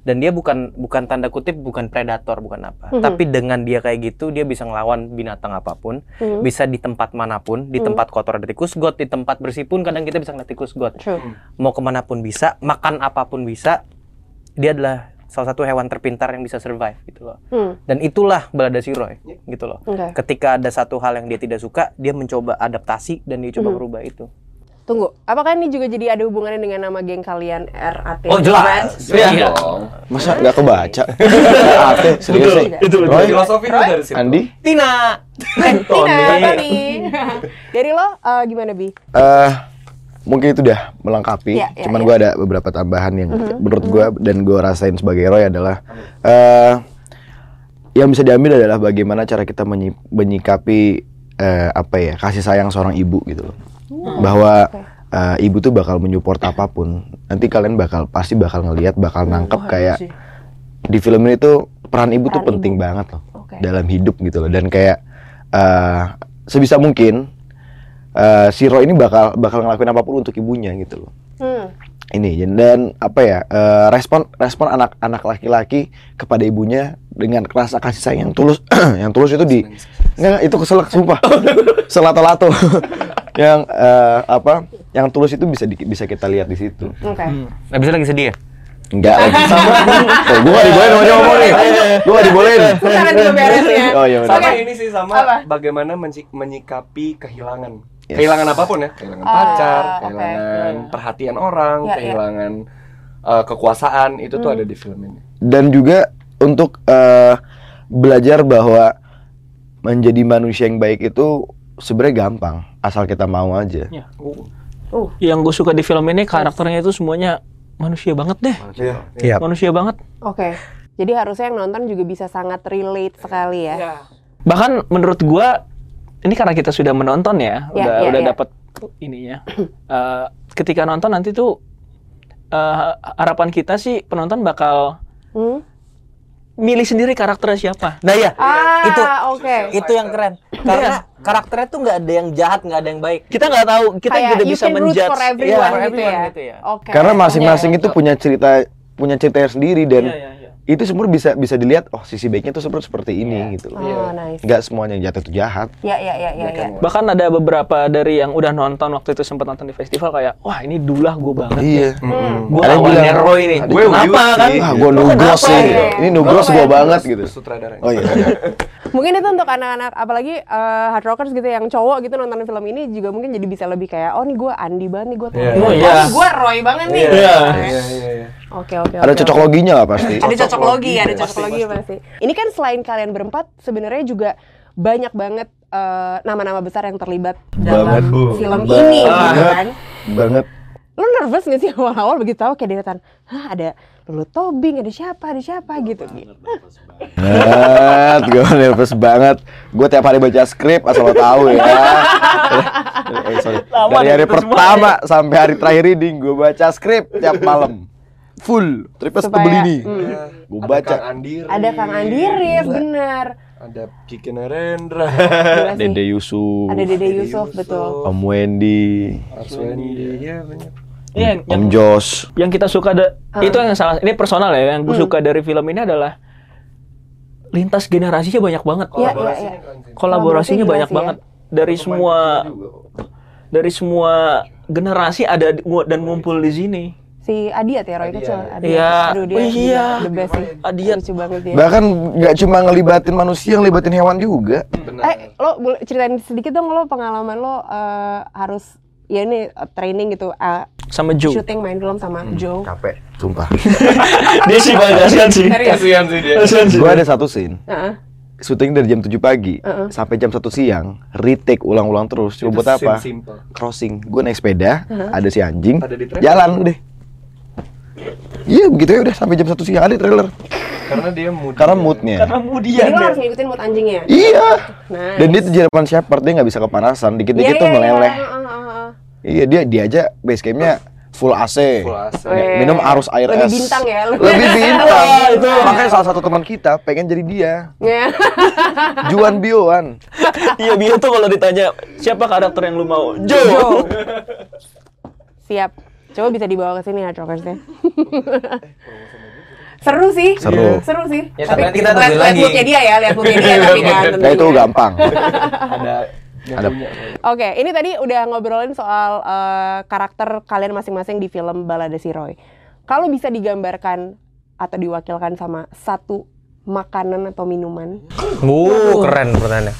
Speaker 5: Dan dia bukan bukan tanda kutip bukan predator bukan apa,
Speaker 2: Mhm.
Speaker 5: tapi dengan dia kayak gitu dia bisa ngelawan binatang apapun,
Speaker 2: Hmm.
Speaker 5: bisa di tempat manapun, di
Speaker 2: Mhm.
Speaker 5: tempat kotor ada tikus got, di tempat bersih pun kadang kita bisa ngeliat tikus got
Speaker 2: True.
Speaker 5: mau kemana pun bisa, makan apapun bisa. Dia adalah salah satu hewan terpintar yang bisa survive gitu loh.
Speaker 2: Hmm.
Speaker 5: Dan itulah Balada si Roy gitu loh.
Speaker 2: Oke.
Speaker 5: Ketika ada satu hal yang dia tidak suka, dia mencoba adaptasi dan dia
Speaker 2: Mhm.
Speaker 5: coba merubah itu.
Speaker 2: Tunggu, apakah ini juga jadi ada hubungannya dengan nama geng kalian RAT?
Speaker 5: Oh, jelas.
Speaker 3: Jelas
Speaker 5: Iya.
Speaker 3: dong.
Speaker 1: Masa nggak kebaca? Ate, serius sih.
Speaker 2: Itu
Speaker 1: Roy,
Speaker 3: Filosofi itu dari situ.
Speaker 1: Andi,
Speaker 5: Tina.
Speaker 2: Tina, Tony. Dari lo eh, gimana Bi?
Speaker 1: eh mungkin itu udah melengkapi.
Speaker 2: Iya, iya,
Speaker 1: Cuman
Speaker 2: iya.
Speaker 1: gua ada beberapa tambahan yang menurut gua dan gua rasain sebagai Roy adalah eh yang bisa diambil adalah bagaimana cara kita menyi- menyikapi eh, apa ya kasih sayang seorang ibu gitu loh. Bahwa eh, ibu tuh bakal menyupport apapun. Nanti kalian bakal pasti bakal ngelihat, bakal nangkep kayak di film ini tuh peran ibu tuh
Speaker 2: Peran
Speaker 1: penting banget loh
Speaker 2: Oke.
Speaker 1: dalam hidup gitu loh dan kayak eh, sebisa mungkin eh, si Roy ini bakal bakal ngelakuin apapun untuk ibunya gitu loh
Speaker 2: Hmm.
Speaker 1: ini dan apa ya eh, respon respon anak-anak laki-laki kepada ibunya dengan rasa kasih sayang yang tulus yang tulus itu di nggak itu keselak sumpah
Speaker 2: Oh,
Speaker 1: selato-lato yang eh, apa yang tulus itu bisa di- bisa kita lihat di situ
Speaker 2: Oke.
Speaker 5: Abis itu lagi sedih ya?
Speaker 1: Enggak lagi sama. gue gak dibolehin sama cowok nih. Gue gak dibolehin.
Speaker 2: Sekarang juga beres ya.
Speaker 1: Oh iya
Speaker 3: Sama
Speaker 1: benar.
Speaker 2: Oke.
Speaker 3: ini sih sama
Speaker 2: Apa?
Speaker 3: bagaimana menci- menyikapi kehilangan.
Speaker 1: Yes.
Speaker 3: Kehilangan apapun ya, kehilangan
Speaker 2: Ah,
Speaker 3: pacar,
Speaker 2: oke.
Speaker 3: kehilangan perhatian
Speaker 2: Ya,
Speaker 3: orang,
Speaker 2: Hmm. ya.
Speaker 3: kehilangan uh, kekuasaan, itu tuh ada di film ini.
Speaker 1: Dan juga untuk eh, belajar bahwa menjadi manusia yang baik itu sebenarnya gampang asal kita mau aja.
Speaker 4: Ya.
Speaker 3: Uh,
Speaker 2: Uh,
Speaker 4: Yang gue suka di film ini karakternya itu semuanya manusia banget deh.
Speaker 3: iya.
Speaker 5: Iya.
Speaker 4: Manusia banget.
Speaker 2: oke. Jadi harusnya yang nonton juga bisa sangat relate sekali ya.
Speaker 4: Bahkan menurut gua ini karena kita sudah menonton ya,
Speaker 2: Ya,
Speaker 4: udah
Speaker 2: ya,
Speaker 4: udah
Speaker 2: ya.
Speaker 4: dapat ininya. Eh, ketika nonton nanti tuh eh, harapan kita sih penonton bakal
Speaker 2: Hmm?
Speaker 4: milih sendiri karakternya siapa.
Speaker 5: Nah ya,
Speaker 2: Ah,
Speaker 5: itu
Speaker 2: oke.
Speaker 5: itu yang keren. Karena karakternya tuh nggak ada yang jahat, nggak ada yang baik.
Speaker 4: Kita nggak tahu, kita
Speaker 2: Kayak
Speaker 4: tidak
Speaker 2: you
Speaker 4: bisa
Speaker 2: can root
Speaker 4: menjudge. Iya,
Speaker 2: for everyone,
Speaker 5: for
Speaker 2: gitu,
Speaker 5: everyone
Speaker 2: ya.
Speaker 5: gitu ya.
Speaker 2: Oke.
Speaker 1: Karena masing-masing itu punya cerita punya ceritanya sendiri dan
Speaker 4: Iya, iya, iya.
Speaker 1: itu semua bisa bisa dilihat oh sisi baiknya tuh seperti seperti ini gitu loh.
Speaker 2: Oh, nice.
Speaker 1: Enggak semuanya yang jatuh itu jahat.
Speaker 2: Ya, ya, ya, ya, ya.
Speaker 4: Bahkan ada beberapa dari yang udah nonton waktu itu sempat nonton di festival kayak, wah ini dulah gue banget.
Speaker 1: Iya.
Speaker 4: Gue
Speaker 1: Ada yang bilang,
Speaker 4: lawannya Roy nih.
Speaker 1: Gue
Speaker 4: Kenapa kan?
Speaker 1: Ah, gue nugros
Speaker 4: kenapa? ya?
Speaker 1: sih. Ini nugros gue banget gitu.
Speaker 3: Iya. Sutradaranya.
Speaker 1: Oh iya.
Speaker 2: Mungkin itu untuk anak-anak, apalagi eh, hard rockers gitu yang cowok gitu nonton film ini juga mungkin jadi bisa lebih kayak, oh nih gue Andi banget nih, gue Tony
Speaker 3: Iya.
Speaker 2: banget.
Speaker 4: Oh, iya.
Speaker 2: Oh, gue Roy banget nih.
Speaker 4: Iya.
Speaker 3: Iya, iya, iya.
Speaker 2: Oke, oke,
Speaker 1: Ada
Speaker 2: oke,
Speaker 1: cocok
Speaker 2: oke.
Speaker 1: loginya lah pasti.
Speaker 2: ada cocok logi, ada
Speaker 3: Pasti,
Speaker 2: cocok logi pasti. Ini kan selain kalian berempat, sebenarnya juga banyak banget eh, nama-nama besar yang terlibat dalam
Speaker 1: Banget, Bu.
Speaker 2: film
Speaker 1: Banget.
Speaker 2: ini, gitu kan?
Speaker 1: Banget.
Speaker 2: Lo nervous gak sih awal-awal begitu tahu kayak deretan, hah ada Lulu Tobing, ada siapa, ada siapa gitu.
Speaker 1: banget, gue nervous banget. Gue tiap hari baca skrip asal lo tahu ya. Eh, sorry.
Speaker 4: Lama
Speaker 1: Dari
Speaker 4: nih
Speaker 1: hari
Speaker 4: itu semua
Speaker 1: pertama sampai hari terakhir reading gue baca skrip tiap malam. Full, tripes
Speaker 2: Supaya-
Speaker 1: kebelini.
Speaker 2: hmm.
Speaker 1: Gue
Speaker 3: Ada
Speaker 1: baca.
Speaker 3: Kang Andiri.
Speaker 2: Ada Kang Andiris, bener.
Speaker 3: Ada Kiki Narendra.
Speaker 2: Gila sih.
Speaker 1: Dede Yusuf,
Speaker 2: Ada Dede Yusuf, betul.
Speaker 1: Om Wendy,
Speaker 3: Arswendi. Iya, banyak.
Speaker 4: Iya, yang-
Speaker 1: Om
Speaker 4: yang-
Speaker 1: Jos.
Speaker 4: yang kita suka ada itu yang salah ini personal ya yang gue suka dari film ini adalah lintas generasinya banyak banget
Speaker 2: Iya, iya, iya.
Speaker 3: Kolaborasinya kan sih.
Speaker 4: Ya, kolaborasinya
Speaker 2: Kolaborasi
Speaker 4: banyak
Speaker 2: generasi
Speaker 4: banget dari semua dari semua generasi ada di- ngu- dan ngumpul di sini
Speaker 2: Si Adiat ya, Roy kecil. Adiat.
Speaker 4: Iya.
Speaker 2: Aduh, dia
Speaker 4: Oh, iya.
Speaker 2: gila, ya. the best sih.
Speaker 4: Adiat.
Speaker 2: Lucu banget dia.
Speaker 1: Bahkan nggak cuma ngelibatin manusia, ngelibatin hewan juga.
Speaker 3: Benar.
Speaker 2: Eh,
Speaker 1: Nah.
Speaker 2: lo boleh ceritain sedikit dong lo pengalaman lo eh, harus ya ini eh, training gitu eh,
Speaker 4: sama Ju
Speaker 2: syuting main film sama
Speaker 1: Hmm,
Speaker 2: Joe.
Speaker 1: Capek, sumpah.
Speaker 4: dia sih kasihan sih
Speaker 3: Kasihan sih dia.
Speaker 1: gue ada satu scene
Speaker 2: Heeh.
Speaker 1: syuting dari jam 7 pagi sampai jam 1 siang, retake ulang-ulang terus. Cuma
Speaker 3: Itu
Speaker 1: buat apa?
Speaker 3: scene simple.
Speaker 1: Crossing. Gue naik sepeda, ada si anjing,
Speaker 3: Ada di trailer.
Speaker 1: jalan deh. Iya begitu ya udah sampai jam 1 siang ada di trailer.
Speaker 3: karena dia mood
Speaker 1: Karena moodnya.
Speaker 4: Karena
Speaker 2: Jadi
Speaker 4: kemudian
Speaker 2: lo
Speaker 4: deh.
Speaker 2: harus ngikutin mood anjingnya.
Speaker 1: Iya.
Speaker 2: Nah.
Speaker 1: Dan dia tuh German Shepherd dia nggak bisa kepanasan, dikit-dikit
Speaker 2: Iya,
Speaker 1: tuh meleleh. Iya dia dia aja base campnya full AC.
Speaker 3: Full AC.
Speaker 1: Ya, minum arus air
Speaker 2: Lebih
Speaker 1: es.
Speaker 2: bintang ya, lebih-
Speaker 1: Lebih bintang.
Speaker 2: Wah, itu.
Speaker 1: Makanya salah satu teman kita pengen jadi dia.
Speaker 2: Ya.
Speaker 1: Juan Bioan.
Speaker 4: Iya biar tuh kalau ditanya siapa karakter yang lu mau? Joe.
Speaker 2: Siap. Coba bisa dibawa ke sini Hard Rockersnya. seru sih.
Speaker 1: Seru.
Speaker 2: Seru sih.
Speaker 5: Ya, tapi kita tungguin
Speaker 2: lihat
Speaker 5: lagi.
Speaker 2: moodnya dia ya, lihat moodnya dia tapi kan.
Speaker 1: Nah itu
Speaker 2: tentunya.
Speaker 1: gampang.
Speaker 3: ada yang
Speaker 1: Ada-
Speaker 3: punya.
Speaker 2: Oke, ini tadi udah ngobrolin soal eh, karakter kalian masing-masing di film Balada Si Roy. Kalau bisa digambarkan atau diwakilkan sama satu makanan atau minuman,
Speaker 5: Wuh, Uh, keren pertanyaannya.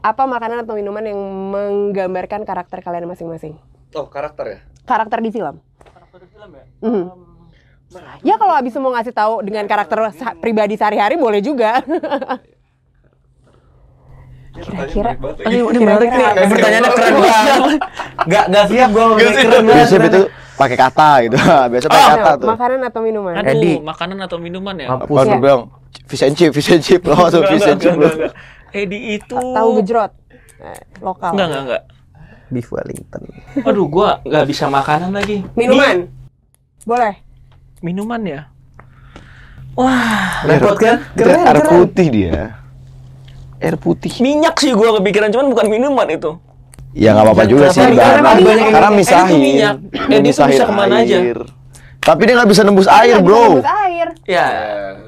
Speaker 2: apa makanan atau minuman yang menggambarkan karakter kalian masing-masing?
Speaker 3: oh karakter ya
Speaker 2: Karakter di film. Mhm. Ya kalau habis mau ngasih tahu dengan karakter sa- pribadi sehari-hari boleh juga. Kira-kira.
Speaker 4: Ini menarik nih.
Speaker 5: Eh, pertanyaannya keren banget. Gak, gak
Speaker 4: Iya,
Speaker 5: siap gue keren banget.
Speaker 1: Biasanya itu pakai kata gitu. Biasa pakai
Speaker 2: Ah.
Speaker 1: kata tuh.
Speaker 2: makanan atau minuman?
Speaker 4: Aduh,
Speaker 5: Edi.
Speaker 4: makanan atau minuman ya?
Speaker 5: Apa?
Speaker 1: Apa lu
Speaker 2: Ya.
Speaker 1: bilang? Fish and chip, fish and chip. Lo langsung fish and chip. lu.
Speaker 4: Edi itu
Speaker 2: Tahu gejrot Eh, lokal.
Speaker 4: Enggak, enggak, enggak.
Speaker 5: Beef Wellington.
Speaker 4: Aduh, gua nggak bisa makanan lagi.
Speaker 2: Minuman. Boleh.
Speaker 4: Di- Minuman ya. Wah,
Speaker 5: Repot kan?
Speaker 1: Dia
Speaker 5: Keren,
Speaker 1: air
Speaker 5: keren.
Speaker 1: putih dia. Air putih.
Speaker 4: minyak sih gua kepikiran cuman bukan minuman itu.
Speaker 1: Ya nggak apa-apa juga sih
Speaker 5: Kenapa?
Speaker 1: bahan
Speaker 5: Karena banyak yang-
Speaker 1: karena
Speaker 4: Edi tuh
Speaker 1: misahin,
Speaker 4: minyak. Edi tuh
Speaker 1: misahin
Speaker 4: bisa kemana aja.
Speaker 1: air. Tapi dia nggak bisa nembus air,
Speaker 2: Nggak Iya, bisa
Speaker 1: bro.
Speaker 2: rebus air.
Speaker 4: Ya,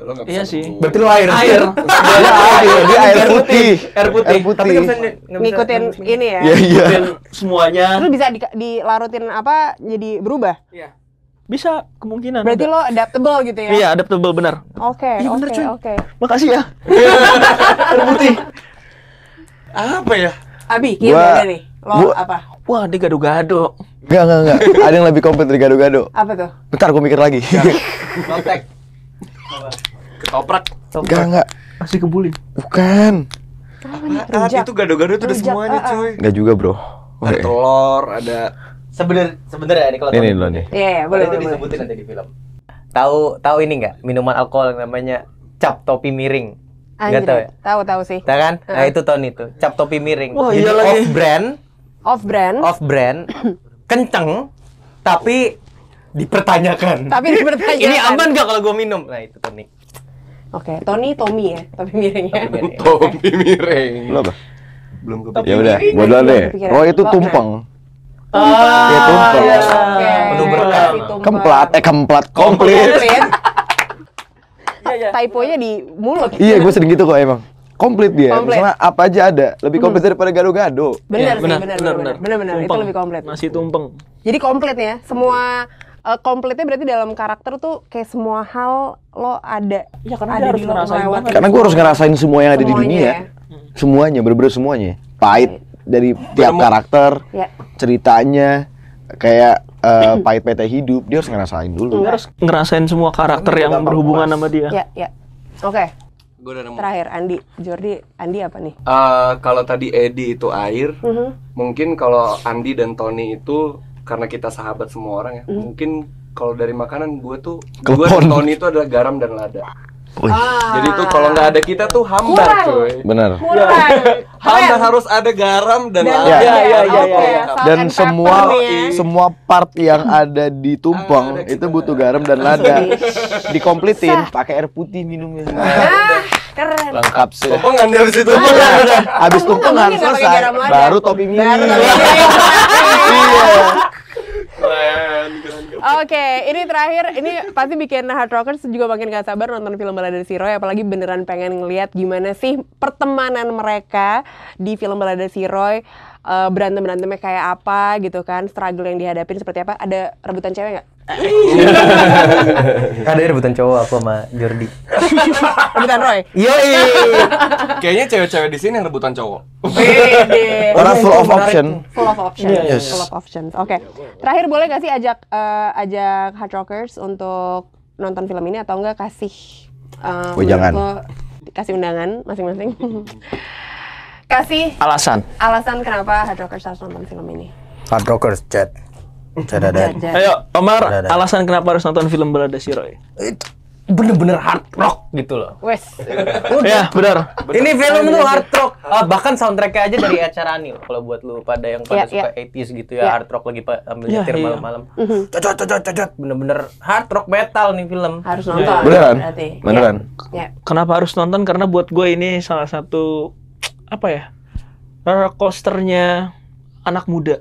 Speaker 3: lo nggak
Speaker 4: iya sih.
Speaker 5: Berarti lu air.
Speaker 4: Air.
Speaker 1: Dia air, dia air putih.
Speaker 4: Air putih.
Speaker 3: tapi nggak bisa nggak bisa-
Speaker 2: Ngikutin ini ya.
Speaker 1: Iya, iya.
Speaker 4: Dan semuanya
Speaker 2: Terus bisa di- dilarutin apa jadi berubah?
Speaker 4: bisa kemungkinan.
Speaker 2: Berarti
Speaker 4: ada.
Speaker 2: lo adaptable gitu ya?
Speaker 4: Iya, adaptable benar.
Speaker 2: Oke,
Speaker 4: Iya, bener,
Speaker 2: oke,
Speaker 4: cuy.
Speaker 2: oke.
Speaker 4: Makasih ya. Air putih. Apa ya?
Speaker 2: Abi, kira
Speaker 1: Gua-
Speaker 2: gimana nih? Lo
Speaker 1: gua-
Speaker 2: apa?
Speaker 4: Wah, dia gado-gado.
Speaker 1: Enggak, enggak, enggak. Ada yang lebih komplit dari gado-gado.
Speaker 2: Apa tuh?
Speaker 1: Bentar gue mikir lagi.
Speaker 5: Lotek.
Speaker 3: ketoprak
Speaker 1: Enggak, enggak.
Speaker 4: Masih kebulin.
Speaker 1: Bukan.
Speaker 2: Apa nih?
Speaker 3: Ah,
Speaker 2: Rujak.
Speaker 3: itu gado-gado itu udah
Speaker 2: Rujak,
Speaker 3: semuanya
Speaker 2: ah, ah.
Speaker 3: coy
Speaker 1: Enggak juga, bro.
Speaker 3: ada
Speaker 1: Oke.
Speaker 3: telur ada
Speaker 5: Sebener, sebenernya ini kalau
Speaker 1: Ini nih lo nih.
Speaker 2: Iya, iya, boleh, boleh, boleh.
Speaker 5: nanti di film. Tahu tahu ini nggak minuman alkohol yang namanya cap topi miring. Nggak
Speaker 2: Anjir,
Speaker 5: tahu ya.
Speaker 2: tahu tahu sih.
Speaker 5: Tahu kan? Nah itu tahun itu cap topi miring.
Speaker 4: Wah,
Speaker 5: Jadi
Speaker 4: iya lagi.
Speaker 5: off brand,
Speaker 2: Off brand,
Speaker 5: off brand, kenceng, tapi dipertanyakan.
Speaker 2: tapi dipertanyakan.
Speaker 5: ini aman nggak kalau gue minum? Nah itu Tony.
Speaker 2: Oke, Tony Tommy ya, tapi miringnya.
Speaker 3: topi miring
Speaker 1: Lo apa?
Speaker 3: belum
Speaker 1: Ya
Speaker 3: kepikiran
Speaker 1: udah, gue duluan deh. Roy itu
Speaker 2: Lo, nah.
Speaker 1: tumpeng.
Speaker 4: Ah,
Speaker 1: Dia tumpeng.
Speaker 4: iya.
Speaker 2: Oke.
Speaker 5: Menu berkah.
Speaker 2: Kasih tumpeng.
Speaker 1: Kemplat, eh kemplat komplit.
Speaker 2: Komplit.
Speaker 4: Iya,
Speaker 2: iya.
Speaker 4: iya.
Speaker 2: Typonya di mulut.
Speaker 1: Iya, gue sering gitu kok emang. Komplit dia.
Speaker 2: Komplit. Hmm.
Speaker 1: Misalnya apa aja ada. Lebih komplit daripada gado-gado.
Speaker 2: Benar
Speaker 4: Iya,
Speaker 2: sih, benar, benar, benar, benar, benar. Itu
Speaker 4: Tumpeng.
Speaker 2: lebih komplit.
Speaker 4: Nasi tumpeng.
Speaker 2: Jadi komplit ya, semua eh, komplitnya berarti dalam karakter tuh kayak semua hal lo ada.
Speaker 4: Iya, karena
Speaker 2: ada
Speaker 4: dia harus
Speaker 2: lo
Speaker 4: ngerasain
Speaker 2: melewati.
Speaker 4: banget.
Speaker 1: Karena gue harus ngerasain semua yang ada di
Speaker 2: Semuanya
Speaker 1: dunia.
Speaker 2: ya.
Speaker 1: Semuanya, bener-bener semuanya. Pahit dari tiap karakter,
Speaker 2: Ya.
Speaker 1: ceritanya, kayak eh, pahit-pahitnya hidup. Dia harus ngerasain dulu.
Speaker 4: Dia harus ngerasain semua karakter yang berhubungan sama dia.
Speaker 2: Ya, ya. Oke,
Speaker 3: gue udah nemu
Speaker 2: terakhir Andi, Jordi, Andi apa nih?
Speaker 3: Eh, kalau tadi Edi itu air
Speaker 2: Mm-hmm.
Speaker 3: mungkin kalau Andi dan Tony itu karena kita sahabat semua orang ya
Speaker 2: Mm-hmm.
Speaker 3: mungkin kalau dari makanan gue tuh gue dan
Speaker 1: Klepon.
Speaker 3: Tony itu adalah garam dan lada
Speaker 1: Wih,
Speaker 3: jadi tuh kalau nggak ada kita tuh hambar
Speaker 2: Kurang.
Speaker 3: coy
Speaker 1: bener.
Speaker 2: Kurang.
Speaker 3: hambar harus ada garam
Speaker 2: Dan
Speaker 3: dan lada
Speaker 1: Ya,
Speaker 3: Iya,
Speaker 2: ya,
Speaker 4: ya, ya,
Speaker 2: oke,
Speaker 4: ya.
Speaker 2: salt
Speaker 1: dan
Speaker 2: and
Speaker 1: semua
Speaker 2: pepper nih ya.
Speaker 1: semua part yang Ah, ada di tumpeng
Speaker 3: Ada
Speaker 1: itu
Speaker 3: kita.
Speaker 1: butuh garam dan lada
Speaker 2: Iya.
Speaker 1: dikompletin pakai air putih minumnya
Speaker 2: Ah, keren.
Speaker 1: lengkap sih
Speaker 3: Tumpeng kan dari situ
Speaker 1: habis
Speaker 2: Tumpeng
Speaker 1: tumpengan
Speaker 2: Iya. nggak pakai
Speaker 1: selesai
Speaker 2: garam lada.
Speaker 1: baru topi miring
Speaker 2: Baru topi
Speaker 1: iya
Speaker 3: Keren, keren, keren.
Speaker 2: Oke, ini terakhir, ini pasti bikin Hard Rockers juga makin gak sabar nonton film Balada Si Roy, apalagi beneran pengen ngeliat gimana sih pertemanan mereka di film Balada Si Roy, eh, berantem-berantemnya kayak apa gitu kan, struggle yang dihadapin seperti apa, ada rebutan cewek nggak?
Speaker 5: Ada rebutan cowok aku sama Jordi.
Speaker 2: Rebutan Roy?
Speaker 5: Yoi.
Speaker 3: kayaknya cewek-cewek di sini yang rebutan cowok
Speaker 2: Pede.
Speaker 1: orang full of option
Speaker 2: Full of options, full of options. Oke, terakhir boleh gak sih ajak eh, ajak Hard Rockers untuk nonton film ini atau enggak kasih eh,
Speaker 1: Oh, jangan.
Speaker 2: menurut lo- kasih undangan masing-masing. kasih
Speaker 4: Alasan.
Speaker 2: alasan kenapa Hard Rockers harus nonton film ini.
Speaker 5: Hard Rockers chat. Chat
Speaker 2: Jad,
Speaker 5: ada.
Speaker 2: jad.
Speaker 4: Ayo, Omar,
Speaker 5: Ada, ada.
Speaker 4: alasan kenapa harus nonton film Balada Si Roy?
Speaker 5: It- bener-bener hard rock gitu loh.
Speaker 2: Wes.
Speaker 4: Ya, benar.
Speaker 5: Ini film tuh hard rock. Ah, bahkan soundtracknya aja dari acara Anil. Kalau buat lu pada yang pada
Speaker 2: Iya,
Speaker 5: suka
Speaker 2: iya.
Speaker 5: 80s gitu
Speaker 2: Iya. Mhm.
Speaker 5: ya, hard rock lagi pa- ambil
Speaker 4: Iya,
Speaker 5: nyetir
Speaker 4: iya.
Speaker 5: malam-malam. Cocot cocot cocot bener-bener hard rock metal nih film.
Speaker 2: Harus nonton.
Speaker 1: Beneran?
Speaker 2: Berarti.
Speaker 1: Beneran?
Speaker 2: Ya.
Speaker 4: Kenapa harus nonton? Karena buat gue ini salah satu apa ya? Roller coasternya anak
Speaker 2: Ya.
Speaker 4: muda.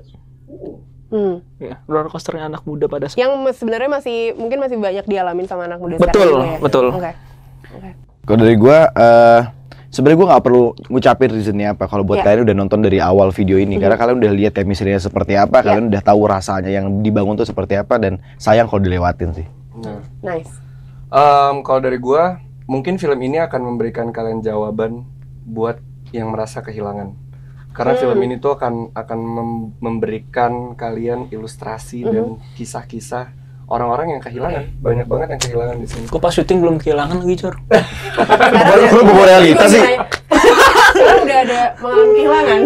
Speaker 2: Hmm.
Speaker 4: Ya, roller coasternya anak muda pada saat
Speaker 2: Yang mes- sebenarnya masih mungkin masih banyak dialamin sama anak muda
Speaker 4: Betul,
Speaker 2: sekarang juga ya?
Speaker 4: betul.
Speaker 2: Oke.
Speaker 1: Kalau dari gua eh sebenarnya gua nggak perlu ngucapin reasonnya apa. Kalau buat
Speaker 2: Iya. Mhm.
Speaker 1: kalian udah nonton dari awal video ini, karena kalian udah lihat chemistry-nya seperti apa,
Speaker 2: Iya.
Speaker 1: kalian udah tahu rasanya yang dibangun tuh seperti apa dan sayang kalau dilewatin sih.
Speaker 3: Nah,
Speaker 2: Nice.
Speaker 3: em, kalau dari gua, mungkin film ini akan memberikan kalian jawaban buat yang merasa kehilangan. Karena
Speaker 4: Hmm.
Speaker 3: film ini tuh akan akan mem- memberikan kalian ilustrasi dan
Speaker 4: Hmm.
Speaker 3: kisah-kisah orang-orang yang kehilangan. Banyak banget yang kehilangan di sini.
Speaker 4: Gue Iya. pas syuting belum kehilangan lagi, Cor.
Speaker 1: Baru lu bawa realita sih.
Speaker 2: Sekarang udah ada mengalami kehilangan.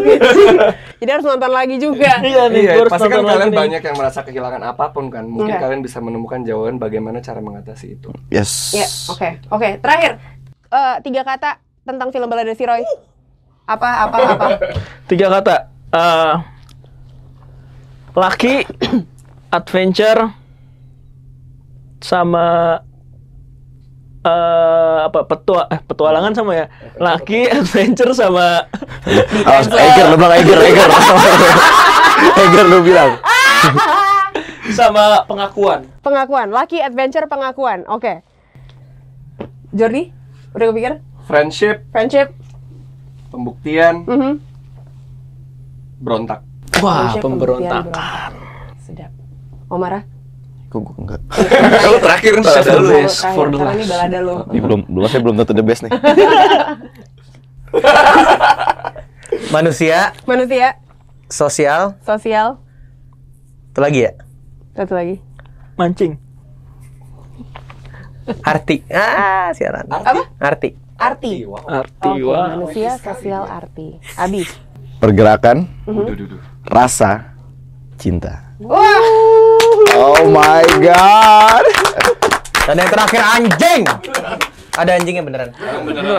Speaker 2: Jadi harus nonton lagi juga.
Speaker 4: Iya nih,
Speaker 3: Iya,
Speaker 4: gua harus
Speaker 3: pasti kan
Speaker 4: nonton lagi
Speaker 3: kalian
Speaker 4: nih.
Speaker 3: banyak yang merasa kehilangan apapun kan. Mungkin
Speaker 2: Iya.
Speaker 3: kalian bisa menemukan jawaban bagaimana cara mengatasi itu.
Speaker 1: Yes.
Speaker 2: Ya, oke. Oke, terakhir. Eh, tiga kata tentang film Balada Si Roy. Apa, apa, apa.
Speaker 4: Tiga kata. Eh, laki, adventure, sama eh apa petua eh, petualangan sama ya laki adventure sama
Speaker 1: Awas, Oh, Eger, lu bilang Eger, Eger. Eger lu bilang.
Speaker 4: sama pengakuan
Speaker 2: Pengakuan. Lucky Adventure pengakuan. Oke. Jordi, udah kepikir?
Speaker 3: Friendship,
Speaker 2: Friendship?
Speaker 3: pembuktian,
Speaker 2: Mhm.
Speaker 3: berontak.
Speaker 4: wah
Speaker 2: Friendship,
Speaker 4: pemberontak
Speaker 2: pembuktian, berontak. Sedap. Omara?
Speaker 1: Kok gua enggak?
Speaker 3: Kalau terakhir ya? ntar ada lu.
Speaker 4: Best
Speaker 2: Terakhir,
Speaker 4: for the
Speaker 2: karena ini
Speaker 4: last.
Speaker 2: balada lo.
Speaker 1: Ini belum belum saya belum tentu the best nih.
Speaker 5: Manusia,
Speaker 2: Manusia,
Speaker 5: sosial,
Speaker 2: sosial,
Speaker 5: itu lagi ya.
Speaker 2: satu lagi.
Speaker 4: mancing
Speaker 5: Arti. Ah, siaran.
Speaker 2: Apa?
Speaker 5: Arti.
Speaker 2: Arti.
Speaker 4: arti
Speaker 2: Oke,
Speaker 4: wah
Speaker 2: manusia, sosial, arti. Abi.
Speaker 1: Pergerakan,
Speaker 3: Duh, duh, duh.
Speaker 1: rasa, cinta.
Speaker 2: Wah,
Speaker 1: Oh my god.
Speaker 5: Dan yang terakhir anjing. Ada anjingnya beneran.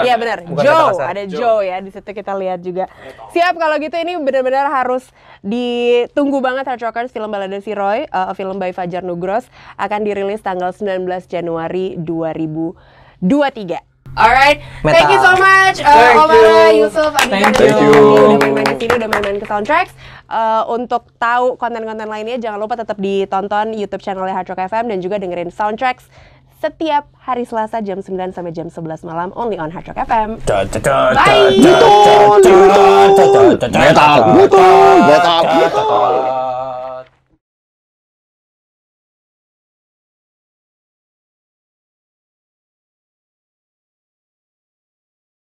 Speaker 2: iya benar.
Speaker 5: Bukan
Speaker 2: Joe,
Speaker 5: kata kasar.
Speaker 2: ada Joe ya di situ kita lihat juga. Siap kalau gitu ini benar-benar harus ditunggu banget Hard Rockers film Balada Si Roy, uh, film by Fajar Nugros akan dirilis tanggal 19 Januari 2023. Alright, thank you so much uh, Omara, Yusuf, Andika,
Speaker 4: Thank
Speaker 2: dan
Speaker 4: you.
Speaker 2: Yogi udah main-main ke sini, udah main-main ke soundtracks. Uh, untuk tahu konten-konten lainnya jangan lupa tetap ditonton YouTube channelnya Hard Rock FM dan juga dengerin soundtracks setiap hari Selasa jam 9 sampai jam 11 malam only on Hard Rock FM. Bye.
Speaker 1: Betul. Metal. Betul. Metal. Betul.